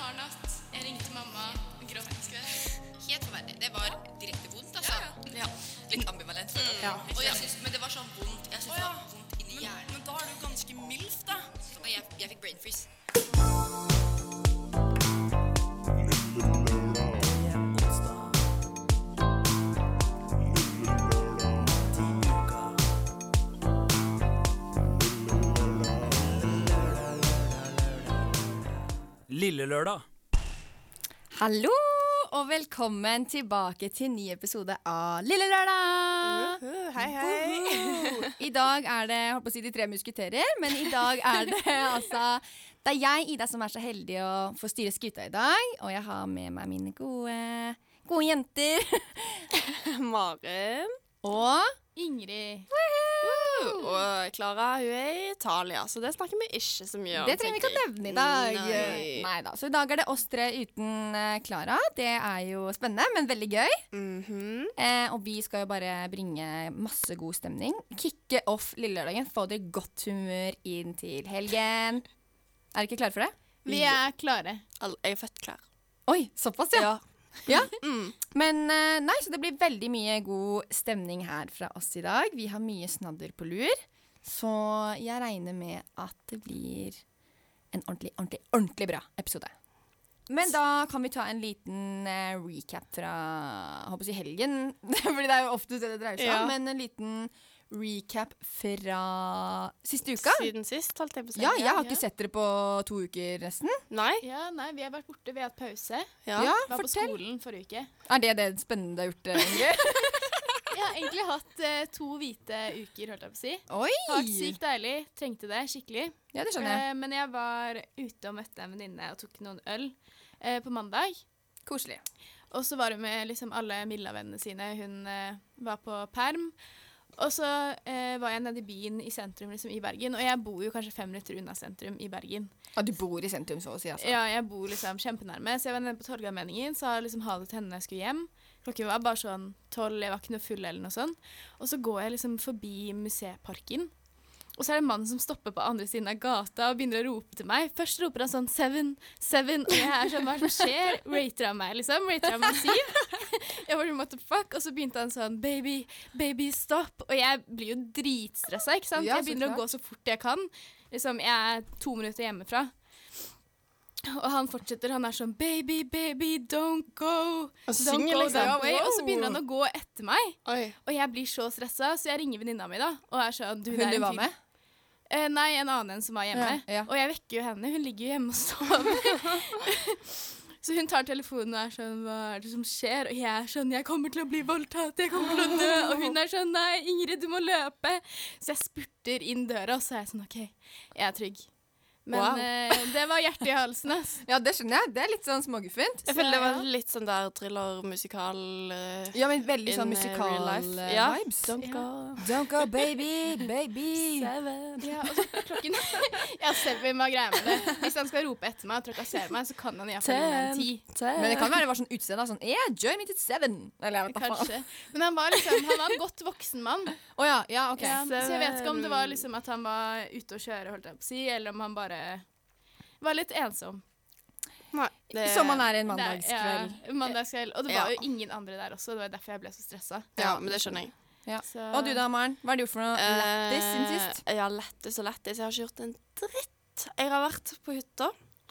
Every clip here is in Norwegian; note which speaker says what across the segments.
Speaker 1: hard natt. Jeg ringte mamma, gråt.
Speaker 2: Helt forferdelig. Det var direkte vondt, altså.
Speaker 1: Ja.
Speaker 2: Litt ambivalent. føler jeg.
Speaker 3: Ja.
Speaker 2: Og jeg synes, men det var sånn vondt. Jeg synes
Speaker 4: Mm. Å, ja.
Speaker 2: det var vondt inni
Speaker 4: Men,
Speaker 2: hjernen.
Speaker 4: men da er du ganske milf, da.
Speaker 2: Og jeg, jeg fikk brain freeze.
Speaker 5: Lille lørdag.
Speaker 3: Hallo og velkommen tilbake til en ny episode av Lille lørdag!
Speaker 6: Hei, hei.
Speaker 3: Woho! I dag er det jeg holdt på å si De tre musketerer, men i dag er det altså Det er jeg, Ida, som er så heldig å få styre skuta i dag. Og jeg har med meg mine gode, gode jenter.
Speaker 6: Maren.
Speaker 3: Og
Speaker 1: Ingrid.
Speaker 6: Og eh, Klara hun er i Italia, så det snakker vi ikke så mye om.
Speaker 3: det trenger vi ikke å nevne i dag.
Speaker 6: Nei.
Speaker 3: Neida. Så i dag er det oss tre uten eh, Klara. det er jo spennende, men veldig gøy.
Speaker 1: Mhm.
Speaker 3: Eh, og vi skal jo bare bringe masse god stemning. Kicke off lillelørdagen. Få dere godt humør inn til helgen. Er dere klare for det?
Speaker 1: Vi er klare.
Speaker 6: Jeg er født klar.
Speaker 3: Oi, såpass, ja. Ja. Men eh, nei, så det blir veldig mye god stemning her fra oss i dag. Vi har mye snadder på lur. Så jeg regner med at det blir en ordentlig, ordentlig, ordentlig bra episode. Men da kan vi ta en liten eh, recap fra jeg håper å si helgen. Fordi det er jo ofte det det dreier seg om.
Speaker 6: Ja.
Speaker 3: Men en liten recap fra siste uka.
Speaker 6: Siden sist, holdt jeg på å si.
Speaker 3: Ja, jeg har
Speaker 1: ja.
Speaker 3: ikke sett dere på to uker, nesten.
Speaker 6: Nei?
Speaker 1: Ja, nei, vi har vært borte. Vi har hatt pause.
Speaker 6: Ja.
Speaker 3: Ja,
Speaker 1: Var på
Speaker 3: fortell.
Speaker 1: skolen forrige uke.
Speaker 3: Er det det spennende du har gjort, eh, Ingrid?
Speaker 1: Jeg har egentlig hatt eh, to hvite uker, holdt jeg på å si.
Speaker 3: Oi!
Speaker 1: Det har vært sykt deilig. Trengte det skikkelig.
Speaker 3: Ja, det skjønner jeg.
Speaker 1: Eh, men jeg var ute og møtte en venninne og tok noen øl eh, på mandag.
Speaker 3: Koselig.
Speaker 1: Og så var hun med liksom alle Milla-vennene sine. Hun eh, var på perm. Og så eh, var jeg nede i byen i sentrum liksom, i Bergen. Og jeg bor jo kanskje fem minutter unna sentrum i Bergen.
Speaker 3: Ja, du bor i sentrum, så å si. altså.
Speaker 1: Ja, jeg bor liksom kjempenærme. Så jeg var nede på Torgallmenningen, sa liksom ha det til henne når jeg skulle hjem. Klokken var bare sånn tolv, jeg var ikke noe full eller noe sånn. Og så går jeg liksom forbi museparken. Og så er det en mann som stopper på andre siden av gata og begynner å rope til meg. Først roper han sånn 'seven, seven', og jeg er sånn 'hva er det som skjer?' Rater han meg, liksom. Rater han meg syv. Jeg var sånn what the fuck? Og så begynte han sånn 'baby, baby, stopp'. Og jeg blir jo dritstressa, ikke sant.
Speaker 3: Ja,
Speaker 1: jeg
Speaker 3: så
Speaker 1: begynner å
Speaker 3: klart.
Speaker 1: gå så fort jeg kan. Liksom, jeg er to minutter hjemmefra. Og han fortsetter, han er sånn 'baby, baby, don't go'.
Speaker 6: Og
Speaker 1: Don't
Speaker 6: synger
Speaker 1: go
Speaker 6: liksom.
Speaker 1: the away. Og så begynner han å gå etter meg.
Speaker 6: Oi.
Speaker 1: Og jeg blir så stressa, så jeg ringer venninna mi da, og er sånn du, det
Speaker 3: Hun
Speaker 1: er en
Speaker 3: du var
Speaker 1: fyr-
Speaker 3: med?
Speaker 1: Eh, nei, en annen enn som var hjemme.
Speaker 3: Ja, ja.
Speaker 1: Og jeg vekker jo henne. Hun ligger jo hjemme og sover. så hun tar telefonen og er sånn Hva er det som skjer? Og jeg er sånn Jeg kommer til å bli voldtatt. Jeg kommer til å dø. Og hun er sånn Nei, Ingrid, du må løpe. Så jeg spurter inn døra, og så er jeg sånn OK, jeg er trygg. Men
Speaker 6: Wow.
Speaker 1: eh, det var hjertet i halsen, ass.
Speaker 3: Ja, det skjønner jeg. Det er litt sånn småguffent.
Speaker 6: Jeg føler det var litt sånn der thriller-musikal eh,
Speaker 3: Ja, men veldig
Speaker 6: in,
Speaker 3: sånn
Speaker 6: eh, real life. Ja.
Speaker 3: musikal-vibes.
Speaker 6: Don't go.
Speaker 3: Don't go, baby, baby.
Speaker 1: Ja, og så klokken Ja, Sevin var greia med det. Hvis han skal rope etter meg og trakassere meg, så kan han iallfall gi meg en ti.
Speaker 3: Men det kan være det var sånn utseende. Sånn yeah, join me to seven. Eller jeg vet da faen.
Speaker 1: Kanskje. Men han var liksom Han var en godt voksen mann.
Speaker 3: Å ja, ja, ok.
Speaker 1: Ja, så jeg vet ikke om det var liksom at han var ute og kjøre, holdt jeg på å si, eller om han bare var litt ensom.
Speaker 6: Nei. Det,
Speaker 3: Som man er en
Speaker 1: Det er-
Speaker 3: mandagskveld.
Speaker 1: Ja, mandagskveld. Og det var
Speaker 6: Ja.
Speaker 1: jo ingen andre der også, det var derfor jeg ble så stressa.
Speaker 6: Ja, men det skjønner jeg.
Speaker 3: Ja.
Speaker 1: Så-
Speaker 3: Og du da, Maren? Hva har du gjort for noe lættis siden
Speaker 6: Eh,
Speaker 3: sist?
Speaker 6: Ja, lættis og lættis. Jeg har ikke gjort en dritt. Jeg har vært på hytta,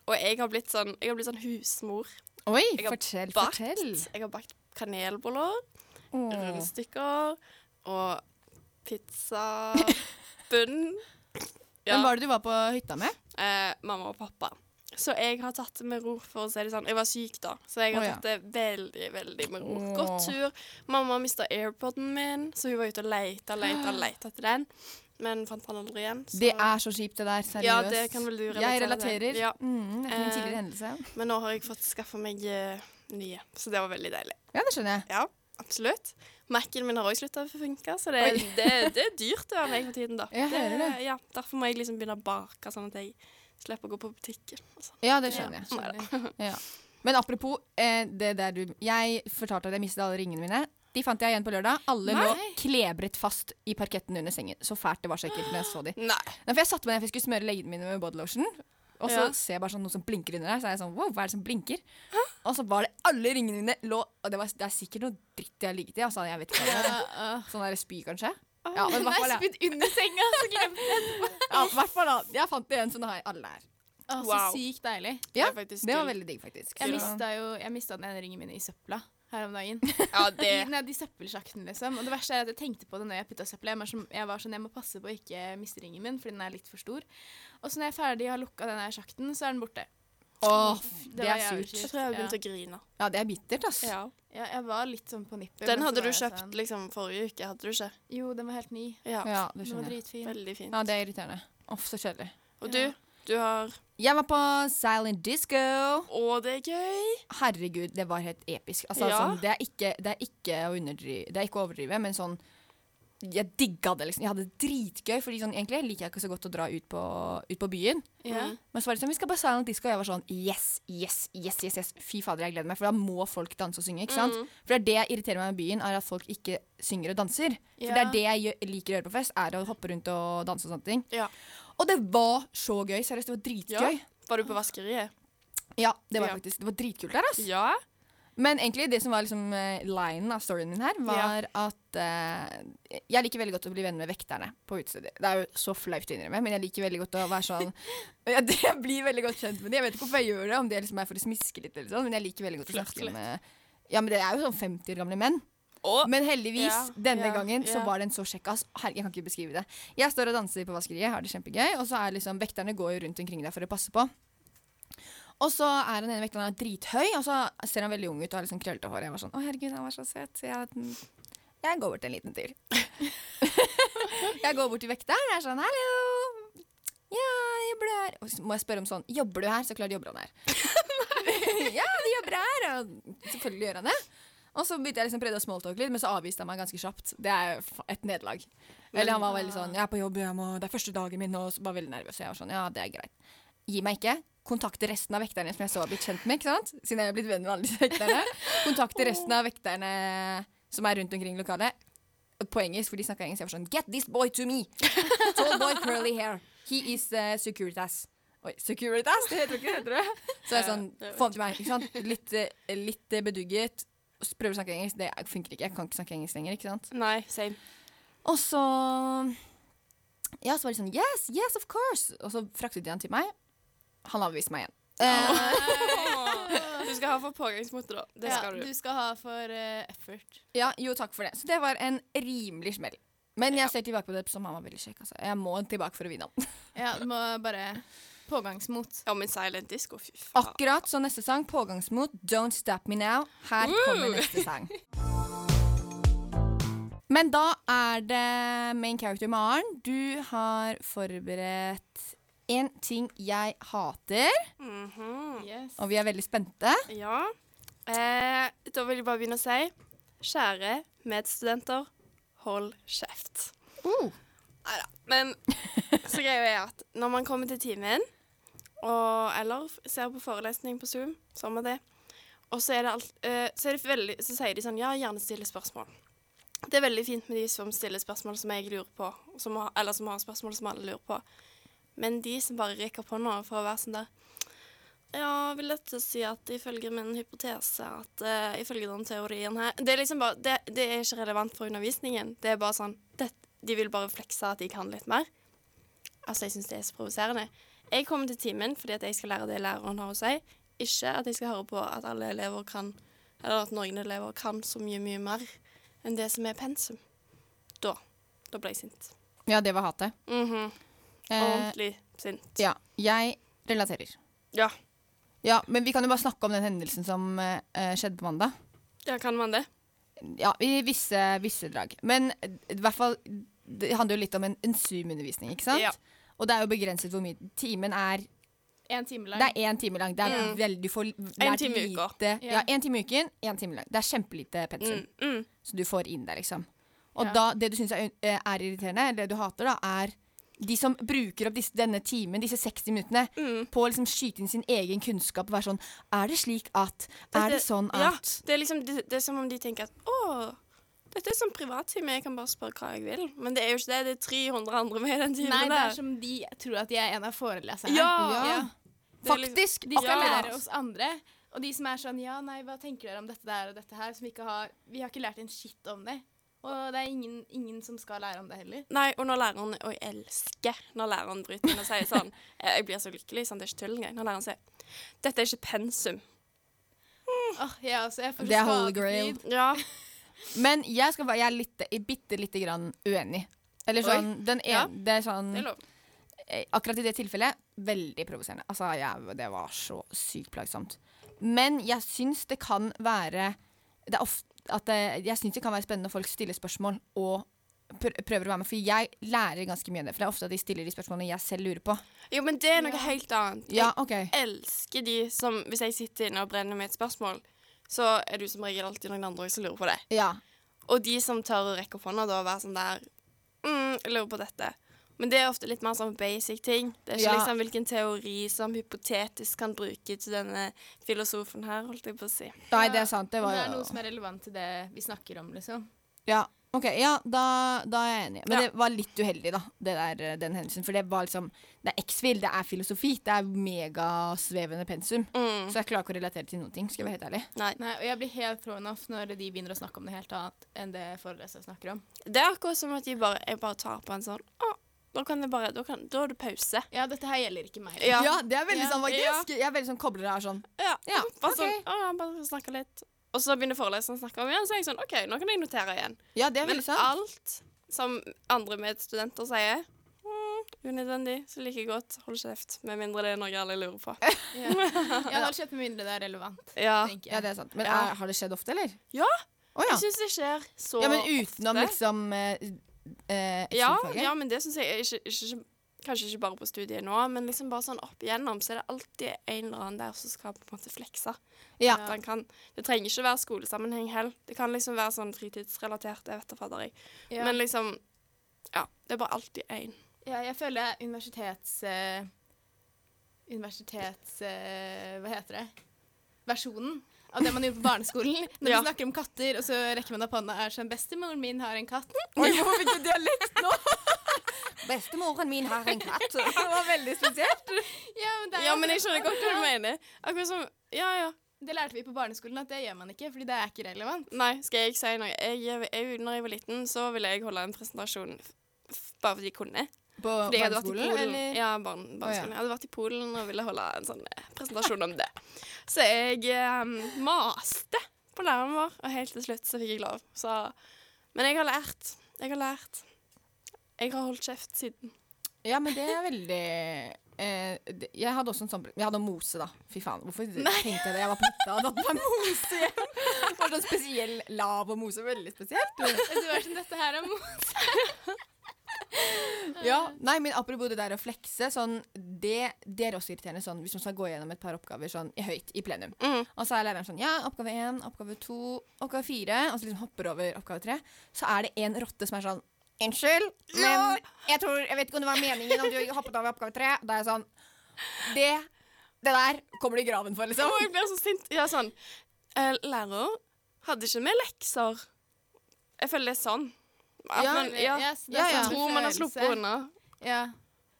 Speaker 6: og jeg har blitt sånn, jeg har blitt sånn husmor.
Speaker 3: Oi,
Speaker 6: jeg har
Speaker 3: fortell,
Speaker 6: bakt.
Speaker 3: fortell.
Speaker 6: Jeg har bakt kanelboller,
Speaker 3: Åh.
Speaker 6: rundstykker og pizza bunn. Ja,
Speaker 3: Hvem var det du var på hytta med?
Speaker 6: eh, mamma og pappa. Så jeg har tatt det med ro, for å si det sånn. Jeg var syk da, så jeg har
Speaker 3: Å, ja.
Speaker 6: tatt det veldig, veldig med ro.
Speaker 3: Åh.
Speaker 6: Gått tur. Mamma mista airpoden min, så hun var ute og leita, leita, leita etter den. Men fant han aldri igjen. Så.
Speaker 3: Det er så kjipt, det der. Seriøst.
Speaker 6: Ja, det kan vel du
Speaker 3: Jeg
Speaker 6: relatere til.
Speaker 3: relaterer.
Speaker 6: Ja.
Speaker 3: Mm, etter min
Speaker 6: Eh,
Speaker 3: tidligere hendelse.
Speaker 6: Men nå har jeg fått skaffa meg eh, nye, så det var veldig deilig.
Speaker 3: Ja, det skjønner jeg.
Speaker 6: Ja, absolutt. Mac-en min har òg slutta å funke, så det, det, det er dyrt å være meg på tiden, da.
Speaker 3: Jeg hører det.
Speaker 6: Ja, derfor må jeg liksom begynne å bake, sånn at jeg slipper å gå på butikken. Altså.
Speaker 3: Ja, det skjønner jeg.
Speaker 1: Skjønner.
Speaker 3: Ja. Men apropos eh, det der du Jeg fortalte at jeg mistet alle ringene mine. De fant jeg igjen på lørdag. Alle lå klebret fast i parketten under sengen. Så fælt det var så ekkelt når jeg så de.
Speaker 6: Nei.
Speaker 3: Nei, for jeg satte meg ned for jeg skulle smøre leggene mine med bodylotion. Og så
Speaker 6: Ja.
Speaker 3: ser jeg bare sånn noe som blinker under der, så er jeg sånn wow, hva er det som blinker? Og så var det alle ringene mine lå Og det, var, det er sikkert noe dritt jeg har ligget i. Altså, jeg vet ikke hva det er.
Speaker 1: Ah,
Speaker 3: Sånn der spy, kanskje? Ja, men i hvert fall, ja.
Speaker 1: spydd under senga, så glemte jeg
Speaker 3: ja, i hvert fall da. Jeg fant det igjen, så nå har jeg alle her.
Speaker 1: Å, Så
Speaker 6: Wow.
Speaker 1: sykt deilig.
Speaker 3: Ja,
Speaker 6: Det er faktisk
Speaker 3: det var
Speaker 6: gull.
Speaker 3: veldig digg, faktisk.
Speaker 1: Jeg
Speaker 6: Ja.
Speaker 1: mista jo jeg mistet den ene ringen min i søpla her om dagen.
Speaker 6: Ja, det
Speaker 1: I- Nedi søppelsjakten, liksom. Og det verste er at jeg tenkte på det når jeg putta søpla. Jeg var sånn, jeg var sånn, jeg må passe på å ikke miste ringen min, fordi den er litt for stor. Og så når jeg er ferdig og har lukka den her sjakten, så er den borte.
Speaker 3: Åh,
Speaker 1: Det
Speaker 3: det
Speaker 1: var
Speaker 3: er
Speaker 1: jævlig
Speaker 3: surt.
Speaker 6: Jeg tror jeg har begynt å grine.
Speaker 3: Ja, det er bittert, ass.
Speaker 6: Ja.
Speaker 1: Ja, jeg var litt sånn på nippet. men
Speaker 6: Den
Speaker 1: så
Speaker 6: hadde
Speaker 1: var
Speaker 6: du
Speaker 1: jeg
Speaker 6: kjøpt
Speaker 1: sånn,
Speaker 6: liksom forrige uke, hadde du ikke?
Speaker 1: Jo, den var helt ny.
Speaker 6: Ja.
Speaker 3: Ja,
Speaker 1: Den var
Speaker 3: det skjønner jeg.
Speaker 1: dritfin.
Speaker 6: Veldig fint.
Speaker 3: Ja, det er irriterende. Uff, så kjedelig.
Speaker 6: Og du? Du har
Speaker 3: Jeg var på silent disco.
Speaker 6: Å, det er gøy!
Speaker 3: Herregud, det var helt episk. Altså,
Speaker 6: Ja.
Speaker 3: sånn, det, er ikke, det er ikke å underdrive, det er ikke å overdrive, men sånn Jeg digga det, liksom. Jeg hadde det dritgøy, fordi sånn, egentlig liker jeg ikke så godt å dra ut på, ut på byen.
Speaker 1: Ja.
Speaker 3: Men så var det sånn, vi skal på silent disco, og jeg var sånn yes, yes, yes, yes, yes. Fy fader, jeg gleder meg, for da må folk danse og synge, ikke sant?
Speaker 6: Mm.
Speaker 3: For det er det jeg irriterer meg med byen, er at folk ikke synger og danser. For det
Speaker 1: Ja.
Speaker 3: er det jeg gjør, liker å gjøre på fest, er å hoppe rundt og danse og sånne ting.
Speaker 6: Ja.
Speaker 3: Og det var så gøy, seriøst, det var dritgøy.
Speaker 6: Var du på vaskeriet?
Speaker 3: Ja, det var
Speaker 6: Ja.
Speaker 3: faktisk, det var dritkult der, ass.
Speaker 6: Ja.
Speaker 3: Men egentlig det som var liksom eh, linen av storyen min her, var at eh, jeg liker veldig godt å bli venn med vekterne på utesteder. Det er jo så flaut å innrømme, men jeg liker veldig godt å være sånn ja, det, Jeg blir veldig godt kjent med dem. Jeg vet ikke hvorfor jeg gjør det, om det liksom er for å smiske litt, eller sånn, men jeg liker veldig godt å snakke med ja, men Det er jo sånn 50 år gamle menn.
Speaker 6: Å.
Speaker 3: Men heldigvis,
Speaker 6: Ja,
Speaker 3: denne
Speaker 6: ja,
Speaker 3: gangen så
Speaker 6: ja.
Speaker 3: var den så kjekkas. Herregud, jeg kan ikke beskrive det. Jeg står og danser på vaskeriet, har det kjempegøy, og så er liksom vekterne går jo rundt omkring der for å passe på. Og så er den ene vekteren han er drithøy, og så ser han veldig ung ut og har liksom krøllete hår. Jeg var sånn Å, herregud, han var så søt. Så jeg, jeg går bort en liten tur. jeg går bort til vekteren og er sånn Hallo. Ja, jeg jobber du her? Og så må jeg spørre om sånn Jobber du her? Så klart jobber han her. ja, du jobber her. Og selvfølgelig gjør han det. Og så begynte jeg liksom prøvde å smalltalke litt, men så avviste han meg ganske kjapt. Det er fa- et nederlag. Eller han var veldig sånn 'Jeg er på jobb, jeg må, det er første dagen min', og så var veldig nervøs. Og jeg var sånn 'Ja, det er greit'. Gi meg ikke. Kontakte resten av vekterne som jeg så har blitt kjent med, ikke sant? siden jeg har blitt venn med alle disse vekterne. Kontakte resten av vekterne som er rundt omkring i lokalet. På engelsk, for de snakka engelsk. Jeg var sånn 'Get this boy to me'. Tall boy, curly hair. He is uh, Securitas. Oi, Securitas? Det heter jo ikke det, heter det? Så jeg er sånn, få han til meg, ikke sant? Litt, eh, litt eh, bedugget. S- Prøver å snakke engelsk, det funker ikke. Jeg kan ikke snakke engelsk lenger, ikke sant?
Speaker 6: Nei, same.
Speaker 3: Og så Ja, så var de sånn Yes, yes, of course! Og så fraktet de han til meg. Han avviste meg igjen. Eh,
Speaker 6: Du skal ha for pågangsmotet, da. Det
Speaker 1: Ja,
Speaker 6: skal
Speaker 1: du
Speaker 6: du.
Speaker 1: skal ha for eh, effort.
Speaker 3: ja, jo, takk for det. Så det var en rimelig smell. Men jeg ser tilbake på det som han var veldig kjekk. Altså. Jeg må tilbake for å vinne han.
Speaker 1: Ja, du må bare Pågangsmot.
Speaker 6: Ja, men silent disco, fy faen.
Speaker 3: Akkurat så neste sang, pågangsmot, Don't Stop Me Now. Her kommer neste sang. Men da er det main character Maren. Du har forberedt en ting jeg hater, Mm.
Speaker 1: Yes.
Speaker 3: og vi er veldig spente.
Speaker 6: Ja. Eh, da vil jeg bare begynne å si Kjære medstudenter, hold kjeft. Nei da. Men så greia er at når man kommer til timen, og, eller f- ser på forelesning på Zoom, som er det, og så, er det alt, eh, så, er det veldig, så sier de sånn Ja, gjerne stille spørsmål. Det er veldig fint med de som stiller spørsmål som jeg lurer på, som har, eller som har spørsmål som alle lurer på. Men de som bare rekker opp hånda for å være sånn der Ja, vil dette si at ifølge min hypotese at eh, Ifølge den teorien her Det er liksom bare det, det er ikke relevant for undervisningen. Det er bare sånn det, De vil bare flekse at de kan litt mer. Altså, jeg syns det er så provoserende. Jeg kommer til timen fordi at jeg skal lære det læreren har å si. Ikke at jeg skal høre på at alle elever kan Eller at noen elever kan så mye, mye mer enn det som er pensum. Da. Da ble jeg sint.
Speaker 3: Ja, det var hatet.
Speaker 6: Mhm.
Speaker 3: Eh,
Speaker 6: Ordentlig sint.
Speaker 3: ja, jeg relaterer.
Speaker 6: Ja.
Speaker 3: Ja, Men vi kan jo bare snakke om den hendelsen som eh, eh, skjedde på mandag.
Speaker 6: Ja, kan man det?
Speaker 3: Ja, i visse, visse drag. Men i hvert fall, det handler jo litt om en, en Zoom-undervisning, ikke sant?
Speaker 6: Ja.
Speaker 3: Og det er jo begrenset hvor mye timen er.
Speaker 1: En time lang.
Speaker 3: Det er én time lang. Det er veldig for lært
Speaker 6: Mm. time i uka.
Speaker 3: lite-
Speaker 1: Ja.
Speaker 3: Ja, én time i uken, én time lang. Det er kjempelite pensum.
Speaker 6: Mm, mm.
Speaker 3: Så du får inn der, liksom. Og
Speaker 1: Ja.
Speaker 3: da, det du syns er, eh, er irriterende, eller det du hater, da, er de som bruker opp disse, denne timen, disse 60 minuttene,
Speaker 6: Mm.
Speaker 3: på å liksom skyte inn sin egen kunnskap og være sånn Er det slik at Er det sånn
Speaker 6: Ja,
Speaker 3: at
Speaker 6: det er, liksom, det, det er som om de tenker at å, dette er sånn privattime, jeg kan bare spørre hva jeg vil. Men det er jo ikke det. Det er 300 andre med i den timen
Speaker 1: Nei, det
Speaker 6: der.
Speaker 1: er som de tror at de er en av foreleserne.
Speaker 6: ja.
Speaker 3: Ja.
Speaker 6: Det er liksom-
Speaker 3: Faktisk!
Speaker 1: De skal
Speaker 3: akkurat.
Speaker 1: lære oss andre. Og de som er sånn Ja, nei, hva tenker dere om dette der og dette her? Som ikke har Vi har ikke lært en skitt om det. Og det er ingen, ingen som skal lære om det heller.
Speaker 6: Nei, og når læreren Og jeg elsker når læreren bryter inn og sier sånn eh, Jeg blir så lykkelig, sånn, det er ikke tull engang. Når læreren sier Dette er ikke pensum.
Speaker 1: Åh, jeg også. Jeg får
Speaker 3: Mm. Det er
Speaker 1: så
Speaker 3: holy grail.
Speaker 1: skadefryd.
Speaker 6: Ja.
Speaker 3: Men jeg, skal, være- jeg er litt, bitte lite grann uenig. Eller sånn, den en,
Speaker 6: Ja.
Speaker 3: det er sånn
Speaker 6: Det er lov.
Speaker 3: eh, Akkurat i det tilfellet, veldig provoserende. Altså, jeg, det var så sykt plagsomt. Men jeg syns det kan være det er ofte, at det, Jeg syns det kan være spennende når folk stiller spørsmål og pr- prøver å være med. For jeg lærer ganske mye av det. For det er ofte at de stiller de spørsmålene jeg selv lurer på.
Speaker 6: Jo, men det er noe helt annet.
Speaker 3: Ja, ok.
Speaker 6: Jeg elsker de som Hvis jeg sitter inne og brenner med et spørsmål, så er du som regel alltid noen andre også som lurer på det.
Speaker 3: Ja.
Speaker 6: Og de som tør å rekke opp hånda da, og være sånn der mm, Jeg lurer på dette. Men det er ofte litt mer sånn basic ting. Det er ikke
Speaker 3: Ja.
Speaker 6: liksom hvilken teori som hypotetisk kan bruke til denne filosofen her, holdt jeg på å si.
Speaker 3: Nei, det er sant. Det var
Speaker 1: det er
Speaker 3: jo
Speaker 1: noe som er relevant til det vi snakker om, liksom.
Speaker 3: Ja, ok, ja, da, da er jeg enig. Men
Speaker 6: Ja.
Speaker 3: det var litt uheldig, da, det der, eh, den hendelsen. For det var liksom Det er X-Fil, det er filosofi. Det er megasvevende pensum.
Speaker 6: Mm.
Speaker 3: Så jeg klarer ikke å relatere til noen ting, skal jeg være helt ærlig.
Speaker 6: Nei.
Speaker 1: Nei, og jeg blir helt thrown off når de begynner å snakke om noe helt annet enn det foreleseren snakker om.
Speaker 6: Det er akkurat som at jeg bare, jeg bare tar på en sånn Å, da kan jeg bare Da, kan, da er det pause.
Speaker 1: Ja, dette her gjelder ikke meg.
Speaker 6: Ja.
Speaker 3: det er
Speaker 1: Ja,
Speaker 3: sånn
Speaker 6: ja.
Speaker 3: Jeg er veldig sånn kobler av sånn.
Speaker 6: Ja.
Speaker 3: Ja,
Speaker 6: Bare
Speaker 3: ok.
Speaker 6: sånn, å, bare snakke litt. Og så begynner foreleseren å snakke om igjen, så er jeg sånn OK, nå kan jeg notere igjen.
Speaker 3: Ja, det er
Speaker 6: Men
Speaker 3: veldig sant.
Speaker 6: alt som andre medstudenter sier mm, Unødvendig, så like godt hold kjeft, med mindre det er noe alle lurer på.
Speaker 1: Ja, ja hold kjeft med mindre det er relevant,
Speaker 6: Ja.
Speaker 1: tenker
Speaker 3: Ja,
Speaker 1: jeg.
Speaker 3: det er sant. Men
Speaker 6: Ja.
Speaker 3: er, har det skjedd ofte, eller?
Speaker 6: Ja,
Speaker 3: Å ja.
Speaker 6: Jeg syns det skjer så
Speaker 3: ja. Men utenom
Speaker 6: ofte.
Speaker 3: liksom eh, eh,
Speaker 6: ja,
Speaker 3: X-Fil-faget?
Speaker 6: ja, men det syns jeg er ikke, ikke, ikke Kanskje ikke bare på studiet nå, men liksom bare sånn opp igjennom så er det alltid en eller annen der som skal på en måte flekse.
Speaker 3: Ja.
Speaker 6: At han kan, det trenger ikke være skolesammenheng heller. Det kan liksom være sånn fritidsrelatert. Jeg vet da fader, jeg.
Speaker 1: Ja.
Speaker 6: Men liksom Ja. Det er bare alltid én.
Speaker 1: Ja, jeg føler universitets... eh, universitets... eh, hva heter det? Versjonen av det man gjorde på barneskolen. Når
Speaker 6: Ja.
Speaker 1: vi snakker om katter, og så rekker man opp hånda er sånn Bestemoren min har en katt.
Speaker 3: Oi, hvorfor fikk du dialekt nå? Bestemoren min har en katt. Det var veldig spesielt.
Speaker 1: Ja, men det, er
Speaker 6: Ja,
Speaker 1: jo-
Speaker 6: men jeg skjønner godt hva du mener. Akkurat som Ja, ja.
Speaker 1: det lærte vi på barneskolen at det gjør man ikke, fordi det er ikke relevant.
Speaker 6: Nei, skal jeg ikke si noe? Jeg, jeg, når jeg var liten, så ville jeg holde en presentasjon f f bare fordi jeg kunne.
Speaker 3: På
Speaker 6: Fordi jeg hadde vært i
Speaker 3: barneskolen,
Speaker 6: Polen.
Speaker 3: eller?
Speaker 6: Ja, barn, barneskolen.
Speaker 3: Å, ja.
Speaker 6: Jeg hadde vært i Polen og ville holde en sånn eh, presentasjon om det. Så jeg eh, maste på læreren vår, og helt til slutt så fikk jeg lov. Så, men jeg har lært. Jeg har lært. Jeg har holdt kjeft siden.
Speaker 3: Ja, men det er veldig eh, det- Jeg hadde også en sånn Jeg hadde mose, da. Fy faen, hvorfor tenkte jeg det? Jeg var på hytta og hadde hatt meg mose hjem. Det var sånn spesiell lav og mose. Veldig spesielt.
Speaker 1: Du er sånn, dette her er
Speaker 3: Ja, nei, men Apropos det der å flekse. Sånn, det, det er også irriterende sånn, hvis man skal gå gjennom et par oppgaver sånn, i høyt i plenum. Og så er læreren sånn Ja, oppgave én, oppgave to, oppgave fire. Og så liksom hopper over oppgave tre. Så er det en rotte som er sånn Unnskyld, men jeg, tror, jeg vet ikke om det var meningen om du hoppet over oppgave tre. Da er jeg sånn Det, det der kommer du i graven for, liksom.
Speaker 6: Og jeg blir så sint. Ja, sånn. eh, Lærer hadde ikke med lekser. Jeg føler det er sånn. At
Speaker 3: Ja,
Speaker 6: man ja,
Speaker 1: Yes, det er
Speaker 3: Ja, ja.
Speaker 1: sånn
Speaker 6: tror man har
Speaker 1: følelse.
Speaker 6: sluppet unna.
Speaker 1: Ja.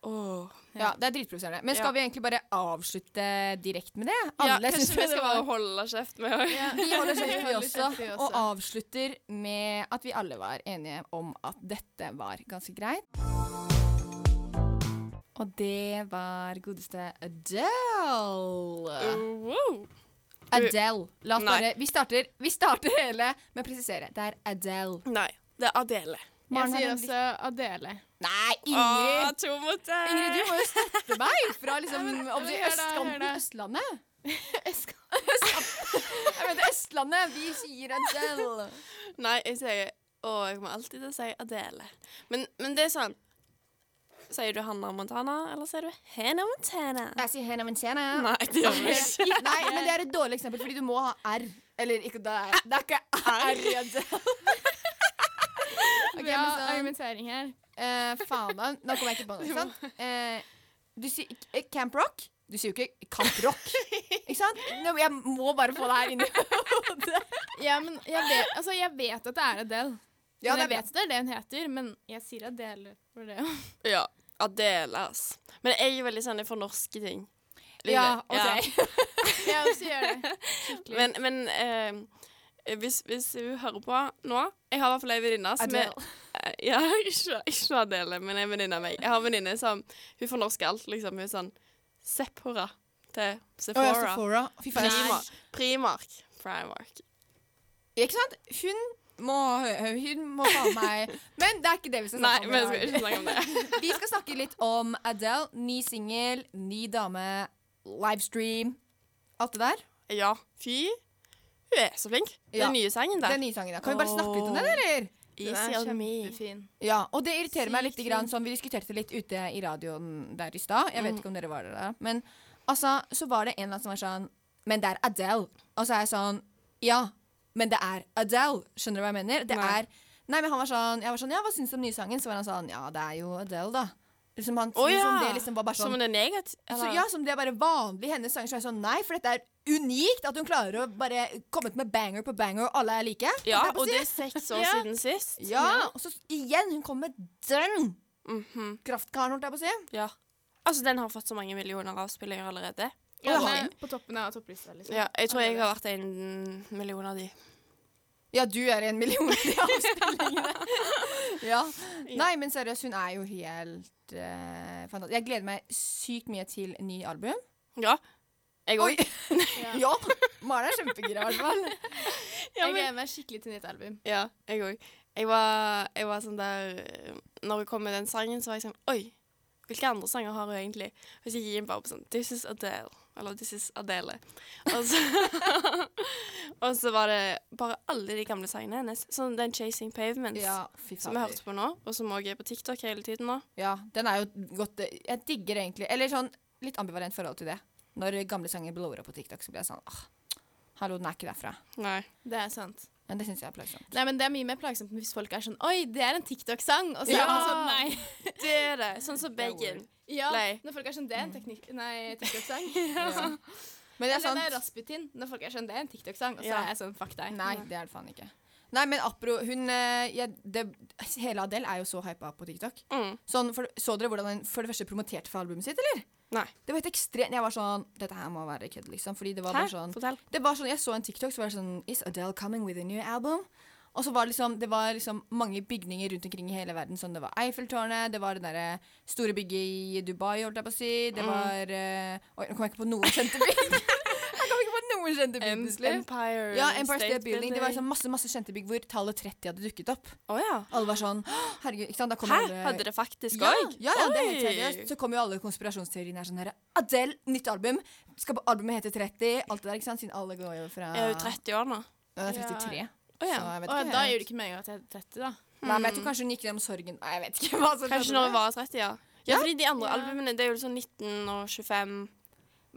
Speaker 6: Åh.
Speaker 3: Ja, det er dritprovoserende. Men skal
Speaker 6: Ja.
Speaker 3: vi egentlig bare avslutte direkte med det?
Speaker 6: Ja,
Speaker 3: Alle synes
Speaker 6: kanskje vi
Speaker 3: det
Speaker 6: skal
Speaker 3: var-
Speaker 6: bare holde kjeft med henne.
Speaker 3: Vi holder
Speaker 1: Vi
Speaker 3: kjeft, vi
Speaker 1: holder
Speaker 3: også.
Speaker 1: kjeft, vi også.
Speaker 3: Og avslutter med at vi alle var enige om at dette var ganske greit. Og det var godeste
Speaker 1: Uh,
Speaker 3: Adele.
Speaker 6: Wow.
Speaker 3: Adele. La oss
Speaker 6: Nei.
Speaker 3: bare, vi starter, vi starter hele med å presisere. Det er Adele.
Speaker 6: Nei, det er Adele.
Speaker 1: Jeg
Speaker 3: Maren har
Speaker 1: sier
Speaker 3: en
Speaker 1: også Adele.
Speaker 3: litt- Nei,
Speaker 6: Åh,
Speaker 3: Ingrid!
Speaker 6: to mot én.
Speaker 3: Ingrid, du må jo støtte meg fra liksom, om
Speaker 1: men
Speaker 3: det
Speaker 1: hør da, hør
Speaker 3: østkanten
Speaker 1: da.
Speaker 3: Østlandet.
Speaker 1: Eska.
Speaker 3: Jeg mente Østlandet. Vi sier Adele.
Speaker 6: Nei, jeg sier Å, jeg kommer alltid til å si Adele. Men, men det er sånn Sier du Hanna Montana, eller sier du Hannah Montana?
Speaker 3: Jeg sier Hannah Montana.
Speaker 6: Nei, det gjør vi ikke.
Speaker 3: Nei, men det er et dårlig eksempel, fordi du må ha R. Eller ikke, det er, det er ikke R. i en del. Ok,
Speaker 1: Bra
Speaker 3: men sånn,
Speaker 1: argumentering her.
Speaker 3: eh, faen da, nå kommer jeg ikke på noe, ikke sant? Eh, du sier eh, Camp Rock. Du sier jo ikke Camp Rock, ikke sant? Nå, jeg må bare få det her inn i hodet.
Speaker 1: Ja, men jeg vet, altså, jeg vet at det er Adele.
Speaker 3: Ja,
Speaker 1: men
Speaker 3: det
Speaker 1: jeg
Speaker 3: er bra.
Speaker 1: vet at det er det hun heter, men jeg sier Adele for det.
Speaker 6: Ja, Adele, ass. Men jeg er veldig sånn jeg fornorsker ting. litt
Speaker 3: Ja,
Speaker 6: løy. Ja.
Speaker 3: ok.
Speaker 1: Jeg også gjør det. Skikkelig.
Speaker 6: Men, men eh, hvis, hvis hun hører på nå Jeg har i hvert fall ei venninne som er Eh, Ja, ikke, ikke Adele, men en venninne av meg. Jeg har en venninne som Hun fornorsker alt, liksom. Hun er sånn Sephora til
Speaker 3: Å, ja,
Speaker 6: Sephora.
Speaker 3: Sephora. Fy faen. jeg-
Speaker 6: Primark. Primark. Primark.
Speaker 3: Ikke sant? Hun må, hun må faen meg Men det er ikke det vi skal
Speaker 6: Nei,
Speaker 3: snakke om.
Speaker 6: vi
Speaker 3: i dag.
Speaker 6: skal ikke snakke om det.
Speaker 3: Vi skal snakke litt om Adele. Ny singel, ny dame, livestream. Alt det der.
Speaker 6: Ja, fy. Hun er så flink.
Speaker 3: Ja.
Speaker 6: Den nye sangen der.
Speaker 3: Den nye sangen. da. Kan vi bare snakke litt om den, eller?
Speaker 1: Den
Speaker 6: Easy
Speaker 1: er
Speaker 6: on me.
Speaker 1: kjempefin.
Speaker 3: Ja, og det irriterer meg litt.
Speaker 1: Sykt
Speaker 3: Grann, sånn, vi diskuterte litt ute i radioen der i stad. Jeg
Speaker 6: Mm.
Speaker 3: vet ikke om dere var der. da. Men altså, så var det en eller annen som var sånn Men det er Adele. Og så er jeg sånn Ja, men det er Adele. Skjønner du hva jeg mener? Det
Speaker 6: Nei.
Speaker 3: er Nei, men han var sånn Jeg var sånn Ja, hva syns du om den nye sangen? Så var han sånn Ja, det er jo Adele, da. Liksom han
Speaker 6: Å
Speaker 3: som-
Speaker 6: ja!
Speaker 3: som det liksom var bare sånn
Speaker 6: Som en negativ
Speaker 3: så, ja, som det er bare vanlig i hennes sanger. Så er jeg sånn, nei, for dette er unikt at hun klarer å bare komme ut med banger på banger, og alle er like. holdt
Speaker 6: ja,
Speaker 3: jeg på å
Speaker 6: og
Speaker 3: si.
Speaker 6: det er seks år
Speaker 1: Ja.
Speaker 6: siden sist.
Speaker 3: ja, og så igjen, hun kommer med den
Speaker 6: Mhm,
Speaker 3: kraftkaren, holdt jeg på å si.
Speaker 6: ja. Altså, den har fått så mange millioner avspillinger allerede.
Speaker 1: Og
Speaker 3: Ja.
Speaker 1: den er på toppen av topplista, liksom.
Speaker 6: Ja, jeg tror jeg har vært en million av de.
Speaker 3: Ja, du er en million i avspillingene. altså. ja. Nei, men seriøst, hun er jo helt eh, fantastisk. Jeg gleder meg sykt mye til ny album.
Speaker 6: Ja. Jeg òg.
Speaker 1: Ja.
Speaker 3: Ja, Maren er kjempegira, i hvert fall.
Speaker 1: Jeg gleder meg skikkelig til nytt album.
Speaker 6: Ja, jeg òg. Jeg, var- jeg var sånn der eh, Når hun kom med den sangen, så var jeg sånn Oi, hvilke andre sanger har hun egentlig? Og så gikk jeg inn bare på sånn This is Adele. Eller This is Adele. Og så, og så var det bare alle de gamle sangene hennes. Sånn den Chasing Pavements
Speaker 3: Ja, fy
Speaker 6: som
Speaker 3: fader.
Speaker 6: vi hørte på nå, og som òg er på TikTok hele tiden nå.
Speaker 3: Ja, den er jo godt eh, Jeg digger egentlig Eller sånn litt ambivalent forhold til det. Når gamle sanger blower opp på TikTok, så blir jeg sånn ah, Hallo, den er ikke derfra.
Speaker 6: Nei.
Speaker 1: Det er sant.
Speaker 3: Men det syns jeg er plagsomt.
Speaker 1: Nei, men Det er mye mer plagsomt hvis folk er sånn Oi, det er en TikTok-sang! Og så er man sånn Nei.
Speaker 6: Det er det. Sånn som Begin.
Speaker 1: Ja,
Speaker 6: Nei.
Speaker 1: Når folk er sånn Det er en teknikk- nei, TikTok-sang.
Speaker 3: Ja. Men
Speaker 1: Eller det
Speaker 3: det er
Speaker 1: er
Speaker 3: sant.
Speaker 1: Rasputin. Når folk er sånn Det er en TikTok-sang. Og så
Speaker 6: Ja.
Speaker 1: er jeg sånn Fuck deg.
Speaker 3: Nei, det er det faen ikke. Nei, men apro hun eh, jeg, det, Hele Adele er jo så hypa på TikTok.
Speaker 6: Mm.
Speaker 3: Sånn, for, så dere hvordan hun for det første promoterte for albumet sitt, eller?
Speaker 6: Nei.
Speaker 3: Det var helt ekstremt. Jeg var sånn Dette her må være kødd, liksom. Fordi det var
Speaker 6: Hæ?
Speaker 3: bare sånn
Speaker 6: Fortell.
Speaker 3: Det var sånn, Jeg så en TikTok som var det sånn Is Adele coming with a new album? Og så var det liksom, det var liksom mange bygninger rundt omkring i hele verden. Sånn, det var Eiffeltårnet, det var det derre store bygget i Dubai, holdt jeg på å si.
Speaker 6: Mm.
Speaker 3: Det var eh, Oi, nå kom jeg ikke på noen kjente bygg. jeg kom ikke på noen kjente bygg, plutselig.
Speaker 6: Empire,
Speaker 3: Ja, Empire State
Speaker 6: Building.
Speaker 3: Building. Det var liksom masse masse kjente bygg hvor tallet 30 hadde dukket opp.
Speaker 6: Å ja.
Speaker 3: Alle var sånn «Hå, Herregud, ikke sant? Da kom
Speaker 6: Hæ?
Speaker 3: alle-
Speaker 6: Hadde det faktisk
Speaker 3: ja,
Speaker 6: òg?
Speaker 3: ja, ja, det er helt seriøst. Så kom jo alle konspirasjonsteoriene her sånn her Adele, nytt album. Skal på albumet hete 30? Alt det der, ikke sant? Siden alle går jo fra
Speaker 6: Er hun 30 år nå?
Speaker 3: Hun er 33.
Speaker 6: Å ja.
Speaker 3: Så jeg vet
Speaker 1: Og
Speaker 3: ikke.
Speaker 1: da gjør det ikke meninga at jeg er 30, da.
Speaker 3: Nei, men jeg tror kanskje hun gikk gjennom sorgen. Nei, jeg vet ikke hva som
Speaker 6: Hmm. Kanskje når hun var 30, ja. Ja, fordi de andre
Speaker 1: Ja.
Speaker 6: albumene det er jo sånn 19 og 25.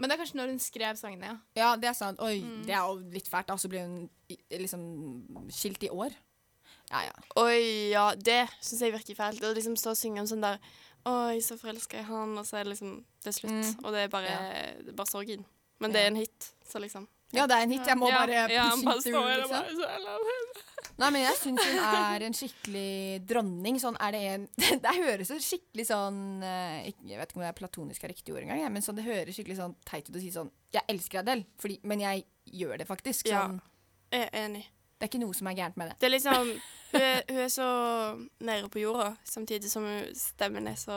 Speaker 1: Men det er kanskje når hun skrev sangene, ja.
Speaker 3: Ja, det er sant. Oi,
Speaker 6: Hmm.
Speaker 3: det er jo litt fælt. da. Så ble hun i- liksom skilt i år. Ja, ja.
Speaker 6: Oi, ja, det syns jeg virker fælt. Å liksom stå og synge om sånn der Oi, så forelska jeg han, og så er det liksom Det er slutt. Og det er bare, det er bare sorgen. Men det er en hit, så liksom.
Speaker 3: Ja, det er en hit. Jeg må
Speaker 6: ja,
Speaker 3: bare
Speaker 6: ja, han
Speaker 3: pushing
Speaker 6: bare
Speaker 3: through,
Speaker 6: står der og
Speaker 3: liksom.
Speaker 6: bare så eller-
Speaker 3: Nei, men jeg syns hun er en skikkelig dronning. Sånn er det en Det høres så skikkelig sånn eh, ikke- Jeg vet ikke om det er platonisk er riktig ord engang, jeg, men sånn, det høres skikkelig sånn teit ut å si sånn Jeg elsker Adele, fordi, men jeg gjør det faktisk.
Speaker 6: Ja.
Speaker 3: Sånn,
Speaker 6: Jeg er enig.
Speaker 3: Det er ikke noe som er gærent med det.
Speaker 6: Det er liksom Hun er, hun er så nede på jorda, samtidig som hun- stemmen er så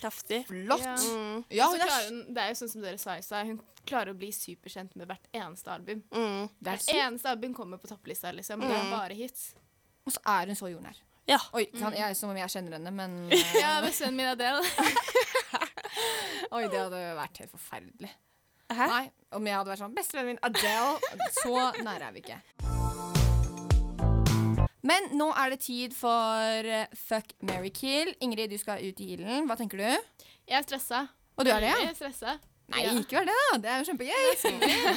Speaker 6: kraftig.
Speaker 3: Flott!
Speaker 1: Ja.
Speaker 6: Mm,
Speaker 3: Ja,
Speaker 1: så
Speaker 3: hun er,
Speaker 1: klarer
Speaker 3: s-
Speaker 1: hun, det er jo sånn som dere sa i stad, hun klarer å bli superkjent med hvert eneste album.
Speaker 6: mm.
Speaker 3: det er Mm.
Speaker 1: Hvert
Speaker 3: sykt.
Speaker 1: eneste album kommer på topplista, liksom. Det er bare hits.
Speaker 3: Og så er hun så jordnær.
Speaker 6: Ja.
Speaker 3: Oi, kan, jeg, som om jeg kjenner henne, men eh,
Speaker 1: Ja, bestevennen min Adele.
Speaker 3: Oi, det hadde vært helt forferdelig.
Speaker 6: Hæ?
Speaker 3: Nei, om jeg hadde vært sånn Bestevennen min Adele. Så nære er vi ikke. Men nå er det tid for eh, Fuck, marry, kill. Ingrid, du skal ut i ilden. Hva tenker du?
Speaker 1: Jeg er stressa.
Speaker 3: Og du er det?
Speaker 1: Jeg
Speaker 3: ja?
Speaker 1: er stressa.
Speaker 3: Nei,
Speaker 1: Ja.
Speaker 3: ikke vær det, da. Det er jo kjempegøy. Eh,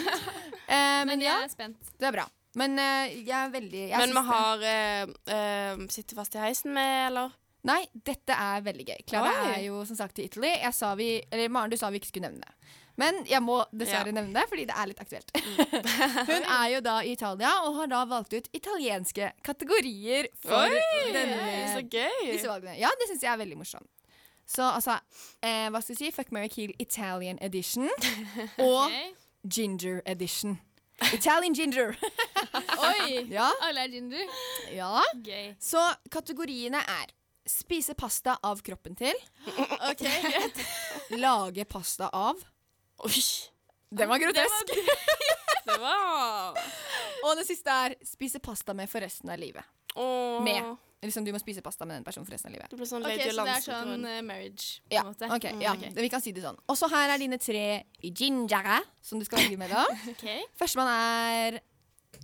Speaker 3: men
Speaker 1: Men
Speaker 3: ja,
Speaker 1: jeg er spent.
Speaker 3: det er bra. Men eh, jeg er veldig jeg syns
Speaker 6: Men vi
Speaker 3: det-
Speaker 6: har eh, eh, Sitter fast i heisen med, eller?
Speaker 3: Nei, dette er veldig gøy. Klara
Speaker 6: Oi.
Speaker 3: er jo som sagt i Italy. Jeg sa vi, eller Maren, du sa vi ikke skulle nevne det. Men jeg må dessverre
Speaker 6: Ja. Mm.
Speaker 3: nevne det, fordi det er litt aktuelt. Hun er jo da i Italia, og har da valgt ut italienske kategorier for
Speaker 6: Oi!
Speaker 3: denne,
Speaker 6: Så gøy!
Speaker 1: liksom
Speaker 3: disse valgene. Ja, det syns jeg er veldig morsomt. Så altså, eh, hva skal jeg si? Fuck, marry, kill Italian edition og ginger edition. Italian ginger.
Speaker 1: Oi!
Speaker 3: Ja.
Speaker 1: Alle er ginger.
Speaker 3: ja.
Speaker 1: Gøy.
Speaker 3: Så kategoriene er spise pasta av kroppen til,
Speaker 1: OK, greit.
Speaker 3: lage pasta av Ah,
Speaker 6: Oi.
Speaker 3: Den var grotesk.
Speaker 6: Det var
Speaker 3: Og det siste er spise pasta med for resten av livet.
Speaker 6: Åh.
Speaker 3: Med. Liksom, du må spise pasta med den personen for resten av livet.
Speaker 6: Det ble sånn
Speaker 1: Ok,
Speaker 6: Lady
Speaker 1: så det er
Speaker 6: Lansen.
Speaker 1: sånn eh, marriage, på
Speaker 3: Ja,
Speaker 1: en måte.
Speaker 3: ok, ja.
Speaker 1: Mm,
Speaker 3: Vi kan si det sånn. Og så her er dine tre gingere som du skal velge mellom.
Speaker 1: ok. Ok.
Speaker 3: Førstemann er